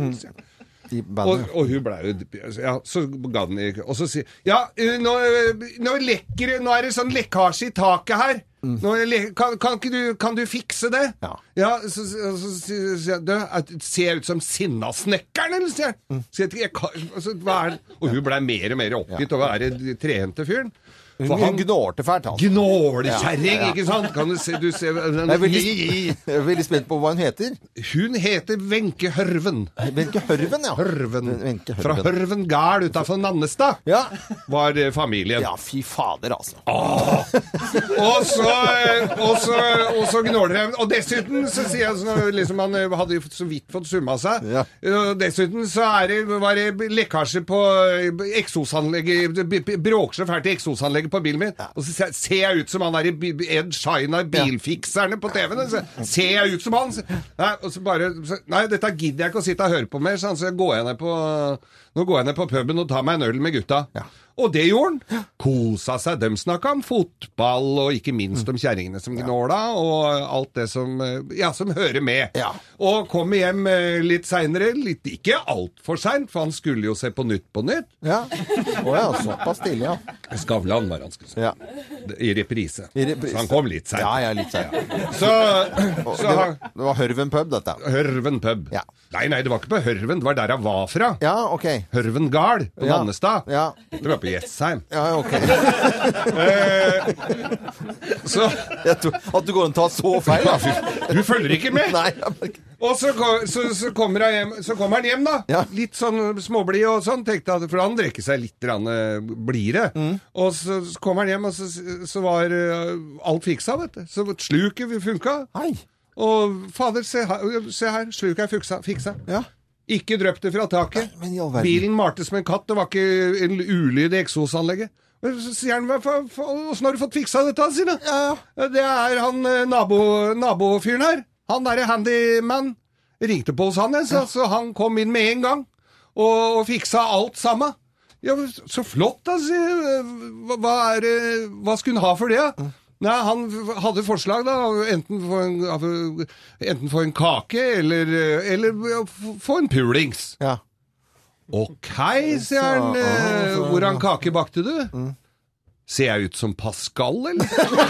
Speaker 3: De
Speaker 5: Og, og hun ble jo ja, Så ga den ikke Og så sier Ja, eh, nå, eh, nå lekker det Nå er det sånn lekkasje i taket her.
Speaker 3: Mm.
Speaker 5: Nå er det le- kan, kan ikke du Kan du fikse det? Ja. så så- så sier sier jeg Du, jeg ser jeg ut som Sinnasnekkeren, eller? sier jeg.
Speaker 3: Mm.
Speaker 5: Så jeg, jeg kan, altså, hva er det? Og hun ble mer og mer oppgitt over den der trehente fyren.
Speaker 3: Hun gnålte fælt, han.
Speaker 5: Gnålekjerring,
Speaker 3: Ja, ja.
Speaker 5: ikke sant? Kan du se, du ser
Speaker 3: Jeg er veldig, jeg er veldig spent på hva hun heter.
Speaker 5: Hun heter Wenche Hørven.
Speaker 3: Wenche Hørven, ja.
Speaker 5: Hørven. Fra Hørven gard utafor Nannestad var eh, familien.
Speaker 3: Ja, fy fader, altså.
Speaker 5: Og så, eh, og så, og så gnåler jeg. Og dessuten så sier jeg sånn liksom Han eh, hadde jo så vidt fått summa seg. Og dessuten så er det, var det lekkasje på eh, eksosanlegget Det b- b- Bråker så fælt i eksosanlegget på bilen min. Og så ser- ser jeg ut som han der i bi- Ed Shiner, bilfikserne på TV-en. Så ser jeg ut som han? Så- Nei, og så bare så, Nei, dette gidder jeg ikke å sitte og høre på mer, så, så jeg går jeg ned på nå går jeg ned på puben og tar meg en øl med gutta. Og det gjorde han. Kosa seg. De snakka om fotball, og ikke minst om kjerringene som gnåla, og alt det som eh, Ja, som hører med. Og kommer hjem eh, litt seinere. Litt ikke altfor seint, for han skulle jo se på Nytt på Nytt.
Speaker 3: Ja. Å ja, såpass tidlig, ja.
Speaker 5: Skavlan var han skulle se. I reprise.
Speaker 3: I reprise.
Speaker 5: Så han kom litt seint.
Speaker 3: Ja, ja, litt seint.
Speaker 5: Så,
Speaker 3: Og det
Speaker 5: så
Speaker 3: var-
Speaker 5: han-
Speaker 3: Det var Hørven pub, dette.
Speaker 5: Hørven pub. Nei, nei, det var ikke på Hørven, det var der jeg var fra.
Speaker 3: Ja, ok.
Speaker 5: Hørven gard på
Speaker 3: Ja.
Speaker 5: Nannestad. Det var på Jessheim. Eh, så
Speaker 3: Jeg tror, at du går an å ta så feil, da.
Speaker 5: Du følger ikke med!
Speaker 3: Nei,
Speaker 5: Og så, ko- så, så, kommer han hjem, så kommer han hjem, da. Litt sånn småblid og sånn, tenkte jeg, for han drikker seg litt grann, eh, blidere. Og så, så kommer han hjem, og så, så var eh, alt fiksa, vet du. Så sluket funka. Og fader, se her, se her sluket er fiksa. fiksa. Ikke drypp det fra taket.
Speaker 3: verden.
Speaker 5: Bilen malte som en katt, det var ikke en ulyd i eksosanlegget. Og Så sier han, "Hva fa- fa- åssen har du fått fiksa dette, sier han. Det er han eh, nabo, nabofyren her. Han derre handyman. Ringte på hos han, jeg, så, så han kom inn med en gang. Og, og fiksa alt sammen. Ja, men så- så flott, da, sier jeg. hva, hva, er, det- hva skulle hun ha for det, da? Nei, han f- hadde forslag, da. Enten få en, av- enten få en kake, eller, eh, eller f- få en pulings. Ok, sier han. eh, Hvordan kake bakte du? Ser jeg ut som Pascal, eller?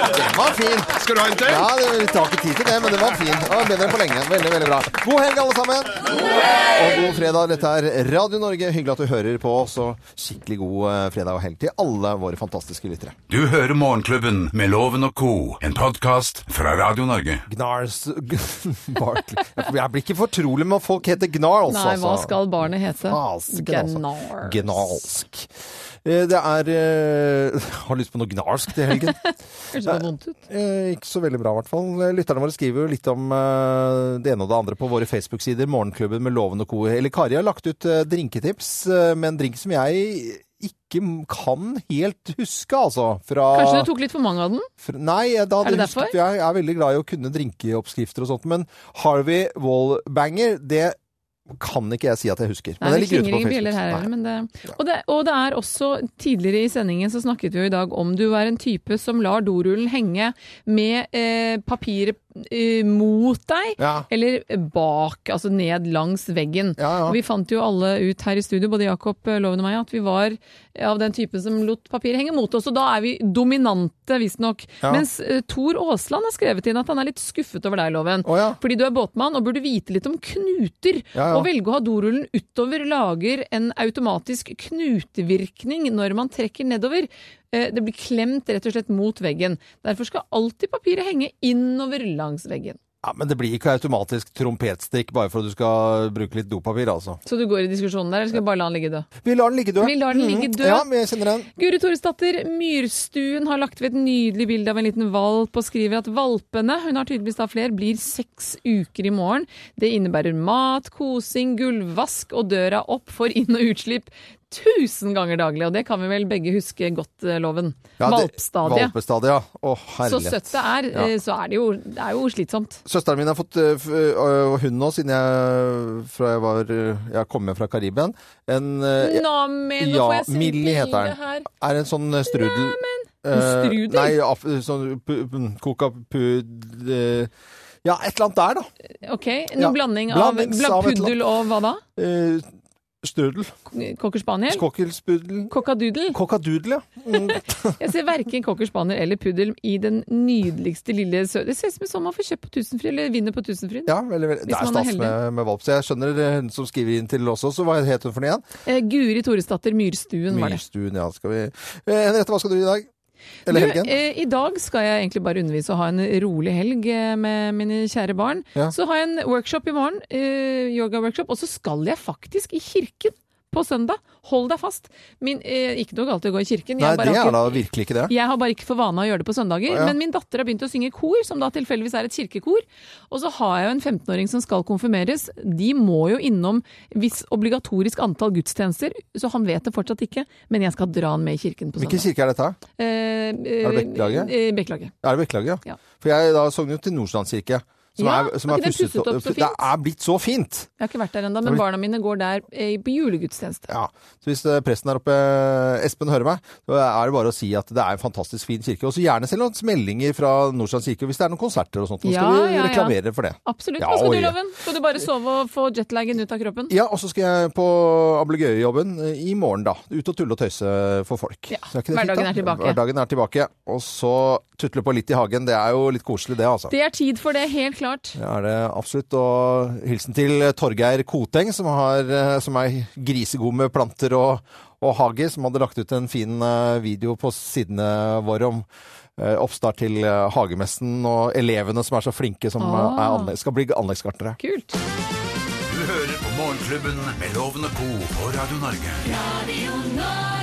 Speaker 3: Det var fin.
Speaker 5: Skal du ha en til?
Speaker 3: Ja, det, vi tar ikke tid til det, men det var fin. Det var bedre enn på lenge. Veldig, veldig bra. God helg, alle sammen. Og god fredag. Dette er Radio Norge. Hyggelig at du hører på oss. Og skikkelig god eh, fredag og helg til alle våre fantastiske lyttere.
Speaker 2: Du hører Morgenklubben med Loven og Co., en podkast fra Radio Norge.
Speaker 3: Gnars Barkley. Jeg blir ikke fortrolig med at folk heter Gnarls,
Speaker 4: Nei, hva
Speaker 3: altså.
Speaker 4: skal barnet hete?
Speaker 3: altså.
Speaker 4: Gnar.
Speaker 3: Gnarlsk. Eh, Det er eh, Har lyst på noe gnarsk til helgen.
Speaker 4: Høres bare vondt ut.
Speaker 3: Eh, Ikke så veldig bra, i hvert fall. Lytterne våre skriver jo litt om eh, det ene og det andre på våre Facebook-sider. Morgenklubben med Loven og co. Eller Kari har lagt ut eh, drinketips eh, med en drink som jeg ikke kan helt huske, altså. Fra
Speaker 4: Kanskje du tok litt for mange av den?
Speaker 3: fra- Nei, jeg- da hadde
Speaker 4: Er det
Speaker 3: jeg husket,
Speaker 4: derfor?
Speaker 3: jeg er veldig glad i å kunne drinkeoppskrifter og sånt, men Harvey Wallbanger, det kan ikke jeg si at jeg husker.
Speaker 4: Nei,
Speaker 3: det
Speaker 4: det klinger ingen bjeller her heller. Men det, og, det, og det er også Tidligere i sendingen så snakket vi jo i dag om du er en type som lar dorullen henge med eh, papiret eh, mot deg,
Speaker 3: Ja.
Speaker 4: eller bak, altså ned langs veggen. Og Vi fant jo alle ut her i studio, både Jakob eh, Loven og meg, at vi var eh, av den typen som lot papiret henge mot oss, og da er vi dominante, visstnok.
Speaker 15: Ja.
Speaker 4: Mens eh, Tor Aasland har skrevet inn at han er litt skuffet over deg, Loven. Fordi du er båtmann og burde vite litt om knuter.
Speaker 15: Ja, ja.
Speaker 4: Og velge å ha dorullen utover lager en automatisk knutevirkning når man trekker nedover. Eh, Det blir klemt rett og slett mot veggen. Derfor skal alltid papiret henge innover langs veggen.
Speaker 3: Ja, Men det blir ikke automatisk trompetstikk bare for at du skal bruke litt dopapir, altså.
Speaker 4: Så du går i diskusjonen der, eller skal vi bare la den ligge død?
Speaker 3: Vi lar den ligge død. Mm.
Speaker 4: Vi lar den ligge død.
Speaker 3: Ja, vi kjenner den.
Speaker 4: Guri Toresdatter Myrstuen har lagt ved et nydelig bilde av en liten valp og skriver at valpene, hun har tydeligvis da flere, blir seks uker i morgen. Det innebærer mat, kosing, gulvvask og døra opp for inn- og utslipp tusen ganger daglig. Og det kan vi vel begge huske godt, eh, Loven.
Speaker 3: Ja, det-
Speaker 4: Valpstadiet.
Speaker 3: Valpestadiet, ja. Å,
Speaker 4: Så
Speaker 3: herlighet.
Speaker 4: søtt det er,
Speaker 3: Ja.
Speaker 4: eh, så er det jo, det er jo slitsomt.
Speaker 3: Søsteren min har fått øh, f- øh, hund nå, siden jeg, fra jeg, var, øh, jeg kom hjem fra Karibien. En, øh, jeg-
Speaker 4: Nå, men, nå
Speaker 3: ja,
Speaker 4: får jeg se
Speaker 3: Millie heter
Speaker 4: bildet
Speaker 3: den.
Speaker 4: her.
Speaker 3: Er en sånn øh, strudel.
Speaker 4: En
Speaker 3: Eh,
Speaker 4: strudel?
Speaker 3: nei, af, sånn pu- pu- kokapud... eh, ja, et eller annet der, da.
Speaker 4: Ok, noen
Speaker 3: Ja,
Speaker 4: blanding av
Speaker 3: blandings av et
Speaker 4: puddel
Speaker 3: eller
Speaker 4: og hva da?
Speaker 3: Eh, strudel.
Speaker 4: Cocker spaniel?
Speaker 3: Skokkelspudel.
Speaker 4: Cockadudel?
Speaker 3: Cockadudel, ja. Mm,
Speaker 4: Jeg ser verken cocker spaniel eller puddel i den nydeligste lille sø... Det ser ut som en sånn man får kjøpt på Tusenfryd, eller vinner på Tusenfryd.
Speaker 3: Ja, veldig, veldig. Det
Speaker 4: Hvis
Speaker 3: er
Speaker 4: man er
Speaker 3: stas med,
Speaker 4: heldig.
Speaker 3: med valp. Så jeg skjønner eh, hun som skriver inn til oss også. Hva het hun for noe igjen?
Speaker 4: Eh, Guri Toresdatter Myrstuen var det.
Speaker 3: Myrstuen, ja. Skal vi... Eh, Henriette, hva skal du i dag? Eller
Speaker 4: Du,
Speaker 3: helgen?
Speaker 4: eh, I dag skal jeg egentlig bare undervise og ha en rolig helg eh, med mine kjære barn.
Speaker 3: Ja.
Speaker 4: Så har jeg en workshop i morgen, eh, yoga-workshop, og så skal jeg faktisk i kirken på søndag. Hold deg fast. Min, eh, ikke noe galt i å gå i kirken.
Speaker 3: Nei,
Speaker 4: jeg bare
Speaker 3: det
Speaker 4: har
Speaker 3: er
Speaker 4: ikke-
Speaker 3: da virkelig ikke det.
Speaker 4: Jeg har bare ikke for vane å gjøre det på søndager.
Speaker 3: Å, ja.
Speaker 4: Men min datter har begynt å synge kor, som da tilfeldigvis er et kirkekor. Og så har jeg jo en 15-åring som skal konfirmeres. De må jo innom viss obligatorisk antall gudstjenester, så han vet det fortsatt ikke. Men jeg skal dra han med i kirken på søndag.
Speaker 3: Hvilken kirke er dette? her? Er
Speaker 4: Eh, eh,
Speaker 3: det Bekkelaget?
Speaker 4: eh, Bekkelaget.
Speaker 3: Er det Bekkelaget?
Speaker 4: Ja.
Speaker 3: For jeg da sogner jo til Nordstrandskirke.
Speaker 4: Ja, var ikke den pusset opp så
Speaker 3: Det
Speaker 4: fint?
Speaker 3: er blitt så fint!
Speaker 4: Jeg har ikke vært der ennå, men barna mine går der eh, på julegudstjeneste.
Speaker 3: Ja, så Hvis eh, presten der oppe, eh, Espen, hører meg, så er det bare å si at det er en fantastisk fin kirke. Og så gjerne send oss meldinger fra Nordstrand kirke hvis det er noen konserter og sånt. Nå skal
Speaker 4: Ja,
Speaker 3: vi
Speaker 4: ja, ja.
Speaker 3: reklamere for det.
Speaker 4: Absolutt.
Speaker 3: Ja,
Speaker 4: Hva skal
Speaker 3: oi.
Speaker 4: du, Loven? Skal du bare sove og få jetlagen ut av kroppen?
Speaker 3: Ja, og så skal jeg på ablegøyejobben eh, i morgen, da. Ut og tulle og tøyse for folk. Så er ikke det fint,
Speaker 4: hverdagen
Speaker 3: da?
Speaker 4: er tilbake.
Speaker 3: Hverdagen er tilbake. Og så tutle på litt i hagen. Det er jo litt koselig, det, altså.
Speaker 4: Det er tid for det, helt klart.
Speaker 3: Det er det absolutt. Og hilsen til Torgeir Koteng, som, har, eh, som er grisegod med planter og, og hage, som hadde lagt ut en fin eh, video på sidene våre om eh, oppstart til eh, hagemessen og elevene som er så flinke som eh, er
Speaker 2: Ah.
Speaker 3: anlegg, skal bli anleggsgartnere.
Speaker 4: Kult.
Speaker 2: Du hører på Morgenklubben med Lovende Co. på Radio Norge.
Speaker 1: Radio Norge.